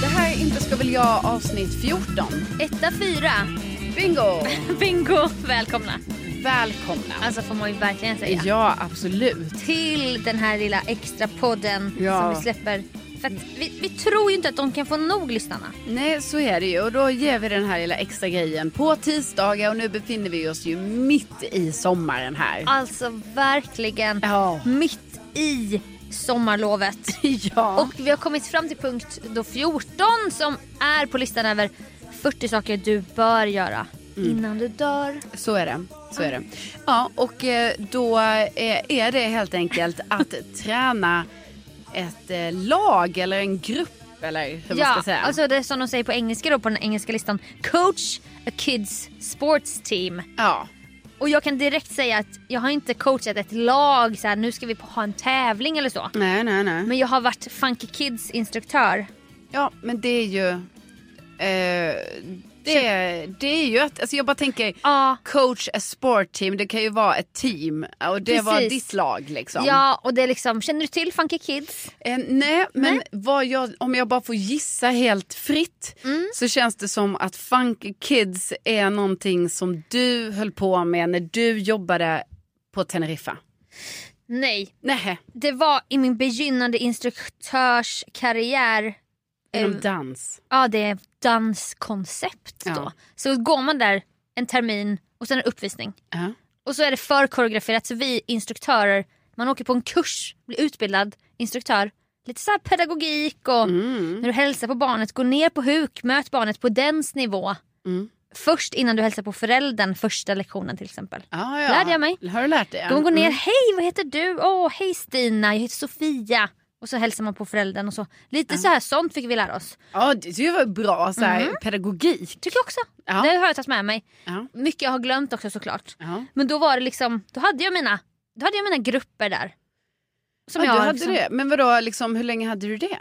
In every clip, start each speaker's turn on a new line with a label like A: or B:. A: Det här är Inte ska väl jag avsnitt 14.
B: Etta, fyra.
A: Bingo!
B: Bingo! Välkomna.
A: Välkomna.
B: Alltså får man ju verkligen säga.
A: Ja, absolut.
B: Till den här lilla extra podden
A: Ja.
B: som vi släpper. För att vi, vi tror ju inte att de kan få nog lyssnarna.
A: Nej, så är det ju. Och då ger vi den här lilla extra grejen på tisdagar och nu befinner vi oss ju mitt i sommaren här.
B: Alltså verkligen
A: Ja.
B: mitt i sommarlovet.
A: Ja.
B: Och vi har kommit fram till punkt då 14 som är på listan över 40 saker du bör göra
A: Mm.
B: innan du dör.
A: Så är det. Så är det. Ja, och eh, då eh, är det helt enkelt att träna ett eh, lag eller en grupp eller hur man ska säga.
B: alltså det är som de säger på engelska då på den engelska listan. Coach a kids sports team.
A: ja.
B: Och jag kan direkt säga att jag har inte coachat ett lag så här, nu ska vi ha en tävling eller så.
A: Nej, nej, nej.
B: Men jag har varit Funky Kids instruktör.
A: Ja, men det är ju... Eh, det, det är ju att... Alltså jag bara tänker...
B: Ja.
A: Coach a sport team, det kan ju vara ett team. Och det var
B: Precis.
A: ditt lag liksom.
B: Ja och det är liksom, känner du till Funky Kids?
A: Eh, nej, men
B: Nej.
A: Vad jag, om jag bara får gissa helt fritt
B: Mm.
A: så känns det som att Funky Kids är någonting som du höll på med när du jobbade på Teneriffa.
B: Nej,
A: Nej,
B: det var i min begynnande instruktörskarriär.
A: inom
B: Eh.
A: dans.
B: Ja det är danskoncept då.
A: Ja.
B: Så går man där en termin och sen är det uppvisning.
A: Ja.
B: Och så är det för koreograferat så vi instruktörer, man åker på en kurs, blir utbildad instruktör. Lite så här pedagogik och när du hälsar på barnet, gå ner på huk, möt barnet på dens nivå. Först innan du hälsar på föräldern första lektionen till exempel.
A: Ja, Mm. ja.
B: Lärde jag mig.
A: Har du lärt dig?
B: Då man går ner, hej vad heter du? Åh hej Stina, jag heter Sofia. Och så hälsar man på föräldern och så. Lite så här sånt fick vi lära oss.
A: Ja, det det var bra så här,
B: Mm.
A: pedagogik.
B: Tycker jag också.
A: Ja.
B: Det har jag tagit med mig.
A: Ja.
B: Mycket jag har glömt också såklart.
A: Ja.
B: Men då var det liksom, då hade jag mina, då hade jag mina grupper där. Som
A: ja,
B: jag
A: du hade
B: liksom,
A: det. Men vadå, liksom, hur länge hade du det?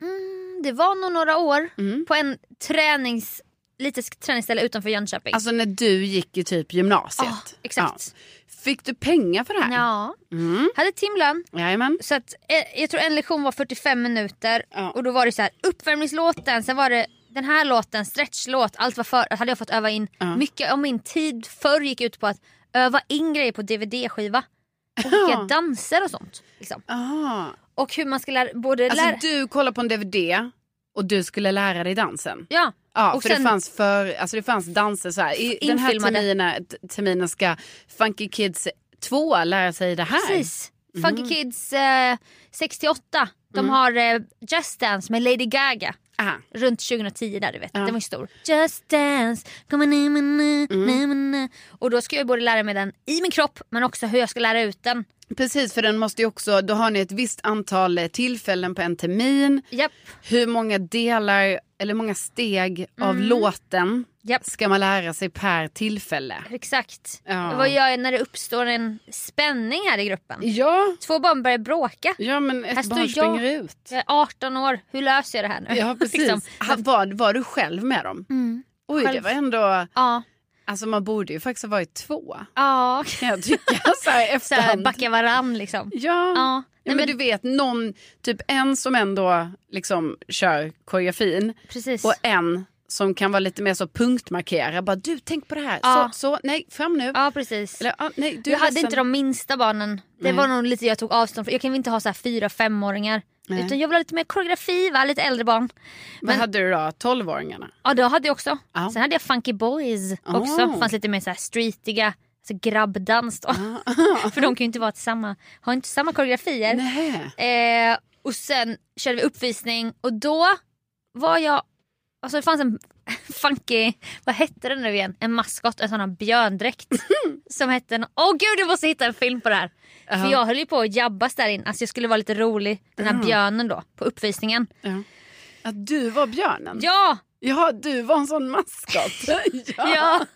B: Mm, det var nog några år
A: Mm.
B: på en tränings, litet träningsställe utanför Jönköping.
A: Alltså när du gick i typ gymnasiet?
B: Ja, exakt.
A: Ja. Fick du pengar för det här?
B: Ja,
A: Mm.
B: hade timlön.
A: Jajamän.
B: Så att, eh, jag tror en lektion var 45 minuter
A: Ja.
B: och då var det så här uppvärmningslåten, sen var det den här låten, stretchlåt, allt var för, hade jag fått öva in.
A: Ja.
B: Mycket av min tid förr gick ut på att öva in grejer på DVD-skiva. Olika
A: Ja.
B: danser och sånt. Liksom.
A: Aha.
B: Och hur man ska lära, både
A: Alltså
B: lära...
A: du kollade på en DVD och du skulle lära dig dansen?
B: Ja,
A: Ja,
B: och
A: för,
B: sen-
A: det fanns för alltså det fanns danser så här. I den här
B: Infilmade.
A: terminen, t- terminen ska Funky Kids 2 lära sig det här.
B: Precis.
A: Mm.
B: Funky Kids eh, 68. De har eh, Just Dance med Lady Gaga.
A: Aha.
B: Runt 2010 där du vet.
A: Ja.
B: Den var ju stor. Just Dance. Come on, na, na, na,
A: Mm.
B: na, na. Och då ska jag både lära mig den i min kropp men också hur jag ska lära ut den.
A: Precis, för den måste ju också, då har ni ett visst antal eh, tillfällen på en termin.
B: Japp.
A: Hur många delar eller många steg av låten
B: Mm. Japp.
A: ska man lära sig per tillfälle?
B: Exakt.
A: Ja.
B: Vad gör jag när det uppstår en spänning här i gruppen?
A: Ja,
B: Två barn börjar bråka.
A: ja men ett
B: Här står
A: barn
B: jag.
A: springer ut.
B: Jag är 18 år, hur löser jag det här nu?
A: Ja, precis.
B: Liksom.
A: Ha- Var, var du själv med dem? Oj, det
B: Mm. Själv.
A: var ändå...
B: Ja.
A: Alltså man borde ju faktiskt ha varit två.
B: Ja,
A: Kan jag tycka så här i
B: så här,
A: efterhand.
B: backa varann liksom.
A: Ja.
B: Ja,
A: Ja.
B: nej,
A: men,
B: men-
A: du vet någon, typ en som ändå liksom kör koreografin
B: Precis.
A: och en som kan vara lite mer så punktmarkera. Bara du tänk på det här,
B: Ja.
A: så, så, nej fram nu.
B: Ja precis.
A: Eller, ja, nej, du är
B: jag hade
A: ledsen.
B: inte de minsta barnen. Det
A: Nej.
B: var nog lite jag tog avstånd från. Jag kan väl inte ha så här fyra femåringar.
A: Nej.
B: Utan jag vill ha lite mer koreografi va, lite äldre barn.
A: Men, hade du då tolvåringarna?
B: Ja det hade jag också.
A: Ja.
B: Sen hade jag funky boys också.
A: Oh.
B: Fanns lite mer så här streetiga, alltså grabbdans då. För de kan ju inte vara till samma, har inte samma koreografier.
A: Ah. Nej.
B: Eh, och sen körde vi uppvisning och då var jag, alltså det fanns en funky, vad hette den nu igen, en maskot, en sån här björndräkt som hette, en- åh gud jag måste hitta en film på det här. För jag höll ju på att jabbas där in, alltså jag skulle vara lite rolig, den här björnen då på uppvisningen.
A: Ja. Att du var björnen?
B: Ja!
A: Ja, du var en sån maskot. ja.
B: Ja.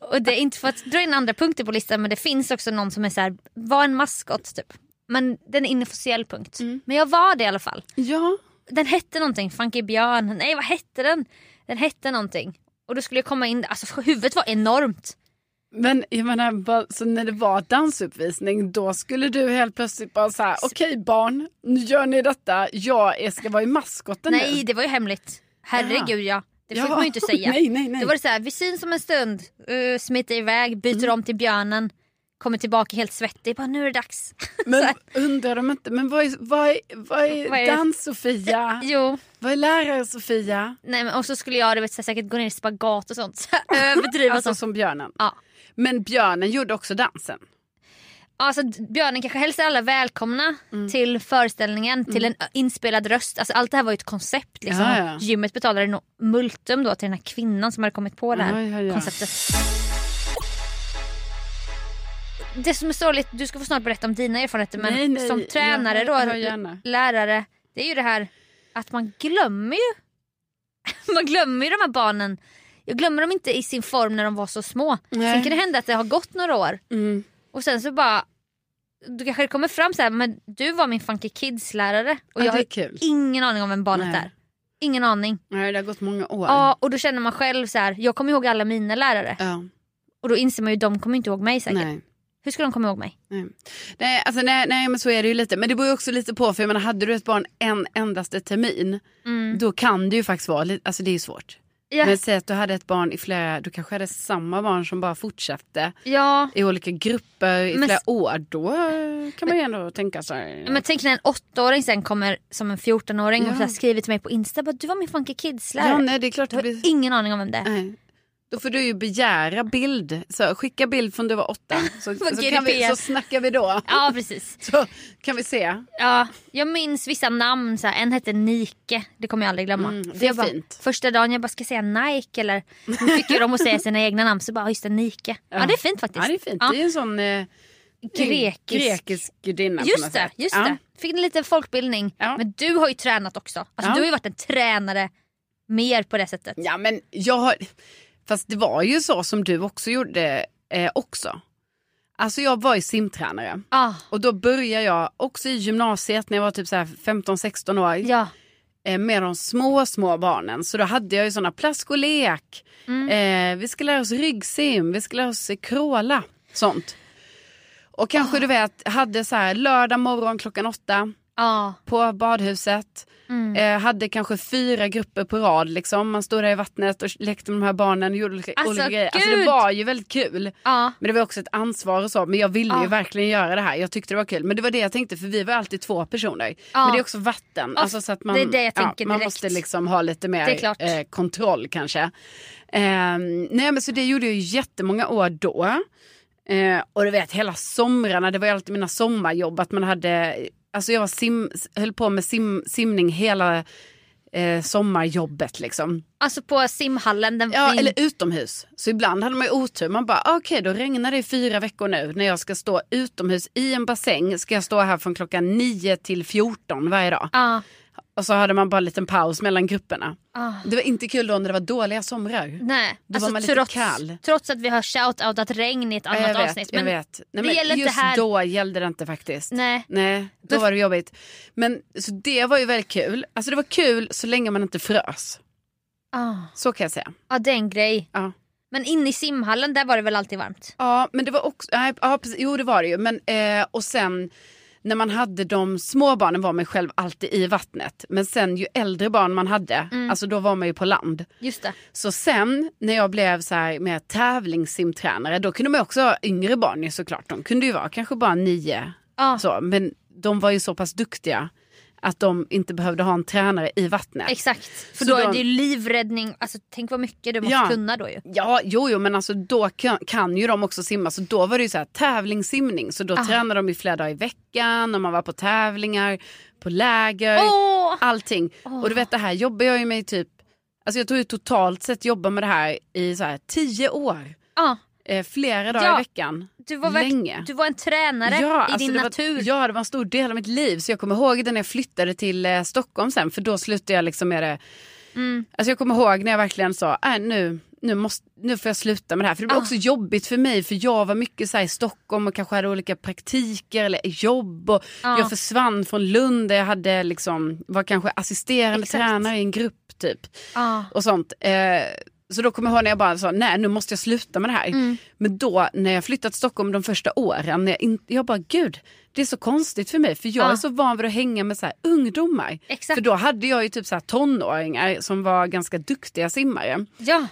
B: Och det är inte för att dra in andra punkter på listan men det finns också någon som är så här, var en maskot typ. Men den är en officiell punkt. Men jag var det i alla fall.
A: Ja.
B: Den hette någonting, Funky Björn. Nej vad hette den? Den hette någonting. Och då skulle jag komma in, alltså huvudet var enormt.
A: Men jag menar, bara- så när det var dansuppvisning då skulle du helt plötsligt bara så här, okej barn, nu gör ni detta, jag är- ska vara i maskoten
B: Nej
A: nu.
B: det var ju hemligt. Herregud ja. Det fick
A: Ja.
B: man ju inte säga.
A: Nej, nej, nej.
B: Då var det så här, vi syns om en stund. Uh, smiter iväg, byter
A: Mm.
B: om till björnen. Kommer tillbaka helt svettig, bara nu är det dags. Så
A: Men
B: här,
A: undrar de inte, men vad är, vad är, vad är,
B: Vad är-
A: dans-Sofia?
B: jo.
A: Vad är lärare-Sofia?
B: Nej, men, och så skulle jag du vet, så här, säkert gå ner i spagat och sånt. Så här, Överdriva
A: Alltså
B: sånt.
A: som björnen.
B: Ja.
A: Men björnen gjorde också dansen.
B: Alltså, björnen kanske hälsar alla välkomna
A: Mm.
B: till föreställningen, till en äh, inspelad röst. Alltså, allt det här var ju ett koncept. Liksom.
A: Ja, ja.
B: Gymmet betalade no- multum då till den här kvinnan som hade kommit på det här
A: Ja, ja, ja.
B: konceptet. Det som är sorgligt, du ska få snart berätta om dina erfarenheter men
A: Nej, nej,
B: som
A: jag
B: tränare
A: hör-
B: då,
A: hör gärna.
B: lärare, det är ju det här att man glömmer ju man glömmer ju de här barnen. Jag glömmer dem inte i sin form när de var så små.
A: Nej.
B: Sen kan det hända att det har gått några år
A: Mm.
B: och sen så bara du kanske det kommer fram så här, men du var min Funky Kids-lärare och
A: Ja,
B: jag
A: det
B: har
A: är kul.
B: ingen aning om vem barnet
A: Nej.
B: är. Ingen aning.
A: Nej, det har gått många år.
B: Ja, och då känner man själv så här, jag kommer ihåg alla mina lärare
A: Ja,
B: och då inser man ju de kommer inte ihåg mig säkert.
A: nej.
B: Hur ska de komma ihåg mig?
A: Nej. Nej, alltså, nej, nej, men så är det ju lite. Men det beror ju också lite på, för jag menar, hade du ett barn en endaste termin,
B: Mm.
A: då kan det ju faktiskt vara lite, alltså det är ju svårt.
B: Ja,
A: Men säg att du hade ett barn i flera, du kanske hade samma barn som bara fortsatte
B: ja.
A: i olika grupper i
B: Men-
A: flera år, då eh, kan man ju ändå tänka sig.
B: Men tänk när en åttaåring sen kommer som en 14-åring och
A: Ja.
B: så här skriver till mig på Insta bara, du var min Funky Kids-lärare.
A: ja, nej, det är klart
B: du
A: det
B: har
A: blir...
B: ingen aning om vem det är.
A: Nej. Då får du ju begära bild, så skicka bild från du var åtta, så, så,
B: Från
A: kan vi,
B: GDPR.
A: så snackar vi då.
B: Ja precis.
A: Så kan vi se.
B: Ja, jag minns vissa namn. Så här, en hette Nike, det kommer jag aldrig glömma.
A: Mm,
B: För
A: det är
B: jag bara,
A: fint.
B: Första dagen jag bara ska säga Nike eller nu fick ju de att säga sina egna namn så bara just det, Nike. Ja. det är fint faktiskt.
A: Ja, det är fint. Det är en sån... Eh,
B: Grekisk.
A: grekisk gudinna på
B: Just
A: något
B: det,
A: sätt.
B: just
A: ja.
B: det. Fick en liten folkbildning.
A: Ja.
B: Men du har ju tränat också. Alltså,
A: Ja.
B: Du har ju varit en tränare mer på det sättet.
A: Ja men jag har, fast det var ju så som du också gjorde eh, också. Alltså jag var ju simtränare
B: Ah,
A: och då började jag också i gymnasiet när jag var typ så här 15-16 år
B: ja.
A: eh, med de små, små barnen. Så då hade jag ju sådana plask och lek.
B: Mm.
A: Eh, vi ska lära oss ryggsim, vi ska lära oss eh, kråla, sånt. Och kanske du vet, hade så här lördag morgon klockan åtta,
B: Ah.
A: på badhuset.
B: Mm.
A: Eh, hade kanske fyra grupper på rad. Liksom. Man stod där i vattnet och lekte med de här barnen och gjorde olika,
B: Alltså,
A: olika grejer. Alltså,
B: gud!
A: det var ju väldigt kul.
B: Ja.
A: Men det var också ett ansvar och så. Men jag ville
B: Ja.
A: ju verkligen göra det här. Jag tyckte det var kul. Men det var det jag tänkte för vi var alltid två personer.
B: Ja.
A: Men det är också vatten.
B: Ja,
A: Alltså, så att man,
B: det är det jag tänker
A: Man
B: direkt.
A: måste liksom ha lite
B: Det är
A: mer
B: klart.
A: eh, kontroll kanske. Eh, nej men så det gjorde jag ju jättemånga år då. Eh, och du vet hela somrarna, det var ju alltid mina sommarjobb att man hade, alltså jag var sim, höll på med sim, simning hela eh, sommarjobbet liksom.
B: Alltså på simhallen. Den,
A: Ja,
B: den,
A: eller utomhus. Så ibland hade man ju otur. Man bara, "Ah, okej då regnar det i fyra veckor nu när jag ska stå utomhus i en bassäng. Ska jag stå här från klockan 9 till 14 varje dag.
B: Ja.
A: Och så hade man bara en liten paus mellan grupperna.
B: Ah.
A: Det var inte kul då när det var dåliga somrar.
B: Nej,
A: Då var
B: alltså,
A: man lite
B: trots,
A: kall.
B: trots att vi har shoutoutat regn i ett annat
A: Ja, jag vet,
B: avsnitt.
A: jag
B: Men
A: vet. Nej,
B: det
A: men
B: gäller inte
A: just
B: här.
A: då gällde det inte faktiskt.
B: Nej.
A: då
B: Men-
A: var det jobbigt. Men så det var ju väldigt kul. Alltså det var kul så länge man inte frös.
B: Ah.
A: Så kan jag säga.
B: Ja det är en grej.
A: Ja.
B: Men inne i simhallen där var det väl alltid varmt?
A: Ja, men det var också... Nej, ja, precis, jo, det var det ju. Men, eh, och sen när man hade de små barnen var man själv alltid i vattnet. Men sen ju äldre barn man hade, alltså då var man ju på land.
B: Just det.
A: Så sen när jag blev så här med tävlingssimtränare, då kunde man ju också ha yngre barn ju såklart. De kunde ju vara kanske bara nio.
B: Ja.
A: Så, men de var ju så pass duktiga att de inte behövde ha en tränare i vattnet.
B: Exakt.
A: Så
B: För då,
A: då-
B: är det ju livräddning. Alltså, tänk vad mycket du måste
A: Ja.
B: kunna då ju.
A: Ja, jo, jo, men alltså då kan, kan ju de också simma. Så då var det ju så här tävlingssimning. Så då
B: Ah.
A: tränade de ju flera dagar i veckan och man var på tävlingar, på läger,
B: Åh!
A: allting. Och du vet det här jobbar jag ju med i typ, alltså jag tror ju totalt sett jobbar med det här i så här tio år.
B: Ja.
A: Eh, flera dagar
B: Ja.
A: i veckan.
B: Du var, verk-
A: Länge. alltså,
B: du var en tränare i din
A: det
B: natur.
A: Var, ja, det var en stor del av mitt liv. Så jag kommer ihåg det när jag flyttade till eh, Stockholm sen, för då slutade jag liksom med det.
B: Mm.
A: Alltså jag kommer ihåg när jag verkligen sa, äh, nu, nu, måste, nu får jag sluta med det här. För det
B: Ah.
A: blev också jobbigt för mig, för jag var mycket så här, i Stockholm och kanske hade olika praktiker eller jobb. Och
B: Ah.
A: Jag försvann från Lund där jag hade liksom, var kanske assisterande
B: Exakt.
A: tränare i en grupp typ
B: Ja.
A: och sånt. Eh, så då kommer jag ihåg när jag bara sa nej nu måste jag sluta med det här. Men då när jag flyttat till Stockholm de första åren, när jag, in, jag bara gud det är så konstigt för mig för jag
B: Ja.
A: är så van vid att hänga med så här, ungdomar.
B: Exakt.
A: För då hade jag ju typ så här, tonåringar som var ganska duktiga simmare.
B: ja.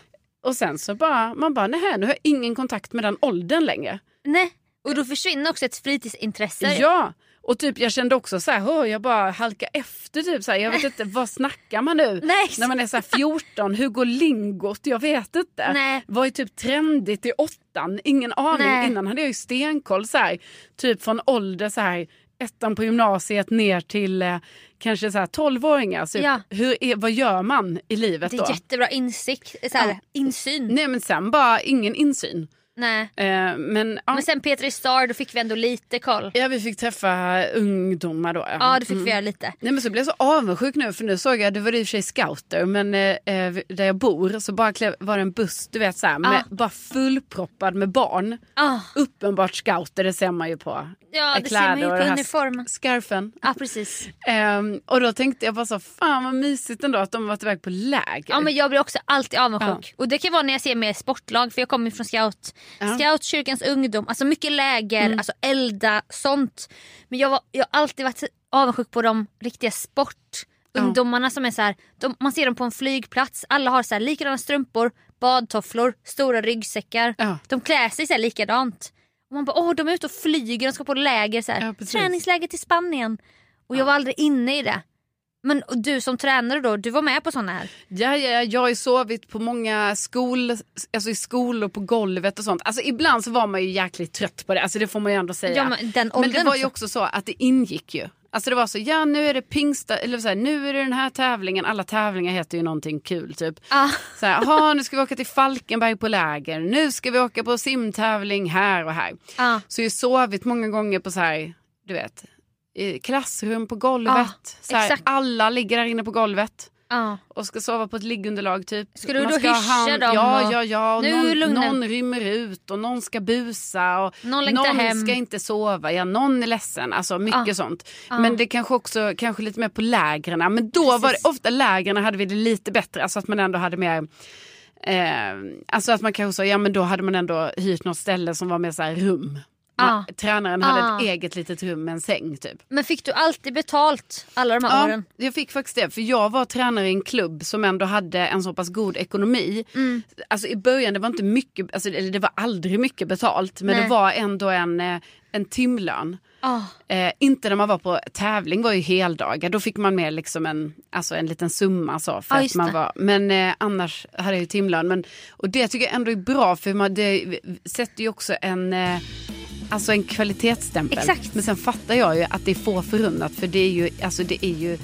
A: Och sen så bara, man bara nej nu har jag ingen kontakt med den åldern längre.
B: Nej. Och då försvinner också ett fritidsintresse.
A: Ja, och typ jag kände också så här, "Åh, jag bara halkar efter typ så här, jag vet inte, vad snackar man nu?
B: Nej.
A: När man är så här 14, hur går lingot? Jag vet inte.
B: Nej.
A: Vad är typ trendigt i åttan? Ingen aning.
B: Nej.
A: Innan hade jag ju stenkoll så här, typ från ålder så här ettan på gymnasiet ner till eh, kanske så här 12-åringar. Typ.
B: Ja.
A: Hur är, vad gör man i livet
B: Det
A: då?
B: är jättebra insikt, så här,
A: Ja.
B: insyn. Nej.
A: Nej men sen bara ingen insyn. Eh, men, ja.
B: Men sen Petri Star, då fick vi ändå lite koll. Ja,
A: ja, vi fick träffa ungdomar då. Ja,
B: det fick
A: Mm.
B: vi göra lite.
A: Nej men så blev jag så avundsjuk nu för nu såg jag, det var i och för sig scouter men eh, eh, där jag bor så bara klev, var det en buss du vet så här, med, bara fullproppad med barn.
B: Ah.
A: Uppenbart scouter det ser man ju på
B: Ja,
A: eh,
B: det ser man ju
A: och
B: på
A: den här
B: uniformen.
A: sk- Scarfen.
B: Ja, Ah, precis.
A: Ehm, och då tänkte jag bara så fan vad mysigt ändå att de varit iväg på läger.
B: Ja, men jag blir också alltid avundsjuk. Och det kan vara när jag ser mer sportlag, för jag kommer ju från scout. Scout, kyrkans ungdom, alltså mycket läger, alltså elda, sånt. Men jag, var, jag har alltid varit avundsjuk på de riktiga sportungdomarna som är så här, de, man ser dem på en flygplats, alla har så här likadana strumpor, badtofflor, stora ryggsäckar.
A: Ja.
B: De klär sig så här likadant. Och man bara, åh de är ute och flyger, de ska på läger, så här.
A: Ja, precis.
B: träningsläger till Spanien. Och jag var aldrig inne i det. Men och du som tränare då, du var med på såna här?
A: Ja, ja, ja, jag har ju sovit på många skol, alltså i skolor på golvet och sånt. Alltså ibland så var man ju jäkligt trött på det, alltså det får man ju ändå säga.
B: Ja, men den
A: men det
B: åldern
A: var ju också så att det ingick ju. Alltså det var så, ja nu är det pingsta, eller så här, nu är det den här tävlingen, alla tävlingar heter ju någonting kul typ.
B: Ja.
A: Så här, aha, nu ska vi åka till Falkenberg på läger, nu ska vi åka på simtävling här och här.
B: Ja.
A: Så jag har ju sovit många gånger på så här, du vet, i klassrum på golvet.
B: Ja,
A: så här,
B: exakt.
A: alla ligger där inne på golvet
B: Ja.
A: och ska sova på ett liggunderlag typ.
B: Ska du
A: Man
B: då
A: ha
B: hyscha dem
A: Ja,
B: och-
A: ja, ja. Och
B: Nu
A: någon,
B: lugna-
A: någon rymmer ut och någon ska busa och
B: Någon längtar hem. Ah.
A: ska inte sova. Ja, någon är ledsen. Alltså mycket sånt. Men det kanske också, kanske lite mer på lägren. Men då var det,
B: Precis.
A: ofta lägren hade vi det lite bättre. Alltså att man ändå hade mer Eh, alltså att man kanske sa, ja men då hade man ändå hyrt något ställe som var mer så här rum. Man, Tränaren hade
B: Ah.
A: ett eget litet rum med en säng typ.
B: Men fick du alltid betalt alla de här
A: Ja,
B: åren?
A: jag fick faktiskt det. För jag var tränare i en klubb som ändå hade en så pass god ekonomi.
B: Mm.
A: Alltså i början det var inte mycket, alltså, eller det var aldrig mycket betalt. Men
B: Nej.
A: det var ändå en, eh, en timlön.
B: Ah.
A: Eh, inte när man var på tävling, var ju heldagar. Då fick man med liksom en, alltså en liten summa. Så, för
B: Ja,
A: att
B: just
A: man
B: det.
A: var, men eh, annars hade jag ju timlön. Men, och det tycker jag ändå är bra för man, det sätter ju också en, eh, alltså en kvalitetsstämpel.
B: Exakt.
A: Men sen fattar jag ju att det är få förunnat för det är ju, alltså det är ju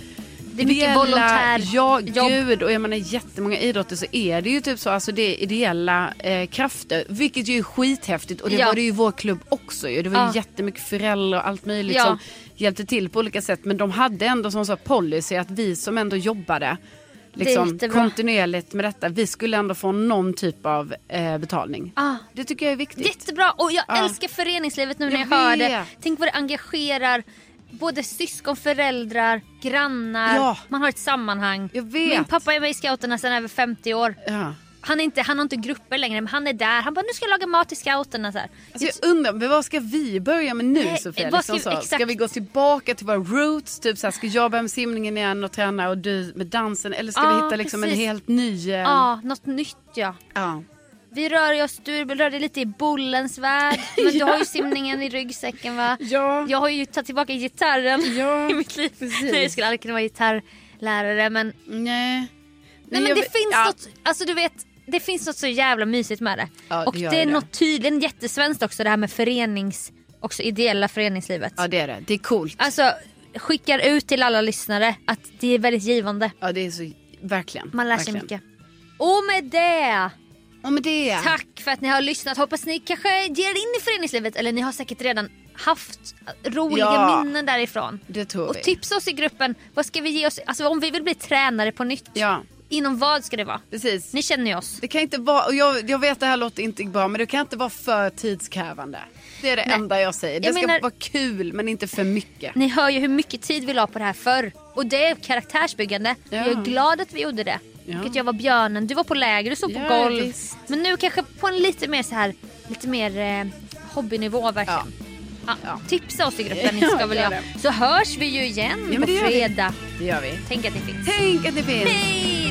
B: Det är mycket volontär
A: Ja,
B: jobb.
A: gud. Och jag menar jättemånga idrotter så är det ju typ så, alltså det är ideella eh, krafter. Vilket ju är skithäftigt och det
B: Ja.
A: var det ju i vår klubb också ju. Det var
B: Ja.
A: ju jättemycket föräldrar och allt möjligt
B: Ja.
A: som hjälpte till på olika sätt. Men de hade ändå som så här policy att vi som ändå jobbade liksom,
B: jättebra.
A: kontinuerligt med detta, vi skulle ändå få någon typ av eh, betalning.
B: Ah.
A: Det tycker jag är viktigt.
B: Jättebra! Och jag
A: Ja.
B: älskar föreningslivet nu när jag,
A: Jag
B: hör det.
A: vet.
B: Tänk vad det engagerar både syskon, föräldrar, grannar.
A: Ja.
B: Man har ett sammanhang.
A: Jag vet.
B: Min pappa är med i scouterna sedan över 50 år.
A: Ja.
B: Han, är inte, han har inte grupper längre men han är där. Han bara nu ska jag laga mat till scouterna. Så här.
A: Alltså jag undrar, men vad ska vi börja med nu
B: Nej,
A: Sofia?
B: vad
A: Liksom
B: ska-
A: så.
B: exakt.
A: Ska vi gå tillbaka till våra roots? Typ så här, ska jag börja med simningen igen och träna och du med dansen? Eller ska
B: Ja,
A: vi hitta liksom en
B: precis.
A: helt ny... eh,
B: Ja, något nytt ja.
A: ja.
B: Vi rör oss, du rör dig lite i bollens värld. Men du har ju simningen i ryggsäcken va?
A: Ja.
B: Jag har ju tagit tillbaka gitarren
A: Ja,
B: i mitt liv.
A: precis.
B: Nej jag skulle aldrig kunna vara gitarrlärare men
A: Nej.
B: Nej men
A: jag
B: det
A: vet-
B: finns
A: ja.
B: något, alltså du vet det finns något så jävla mysigt med det.
A: Ja, det
B: och det,
A: gör
B: är
A: det.
B: något tydligen jättesvenskt också det här med förenings, också ideella föreningslivet.
A: Ja det är det, det är coolt.
B: Alltså skickar ut till alla lyssnare att det är väldigt givande.
A: Ja det är så, verkligen.
B: Man lär sig
A: verkligen.
B: mycket. Och med det,
A: Och med det.
B: tack för att ni har lyssnat. Hoppas ni kanske ger er in i föreningslivet eller ni har säkert redan haft roliga
A: Ja.
B: minnen därifrån.
A: Det tror
B: Och
A: vi.
B: tipsa oss i gruppen, vad ska vi ge oss, alltså om vi vill bli tränare på nytt,
A: Ja,
B: inom vad ska det vara?
A: precis.
B: Ni känner ju oss.
A: Det kan inte vara, och jag, jag vet det här låter inte bra men det kan inte vara för tidskrävande. Det är det enda jag säger. Det
B: Jag
A: ska
B: menar-
A: vara kul men inte för mycket.
B: Ni hör ju hur mycket tid vi la på det här förr. Och det är karaktärsbyggande.
A: Ja.
B: Jag är glad att vi gjorde det.
A: Ja.
B: Att jag var björnen, du var på läger, du stod på
A: Ja,
B: golv.
A: visst.
B: Men nu kanske på en lite mer så här, lite mer eh, hobbynivå verkligen. Ja. Tipsa oss i gruppen,
A: Ja,
B: inte ska väl
A: gör
B: jag. Så hörs vi ju igen
A: men
B: på
A: det gör vi.
B: fredag.
A: Det gör vi.
B: Tänk att ni finns.
A: Tänk att det finns.
B: Hej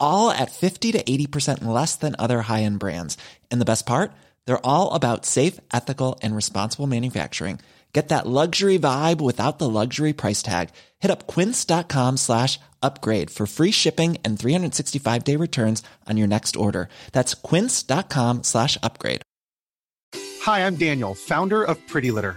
C: all at 50 to 80% less than other high end brands. And the best part? They're all about safe, ethical, and responsible manufacturing. Get that luxury vibe without the luxury price tag. Hit up quince.com slash upgrade for free shipping and 365 day returns on your next order. That's quince.com slash upgrade.
D: Hi, I'm Daniel, founder of Pretty Litter.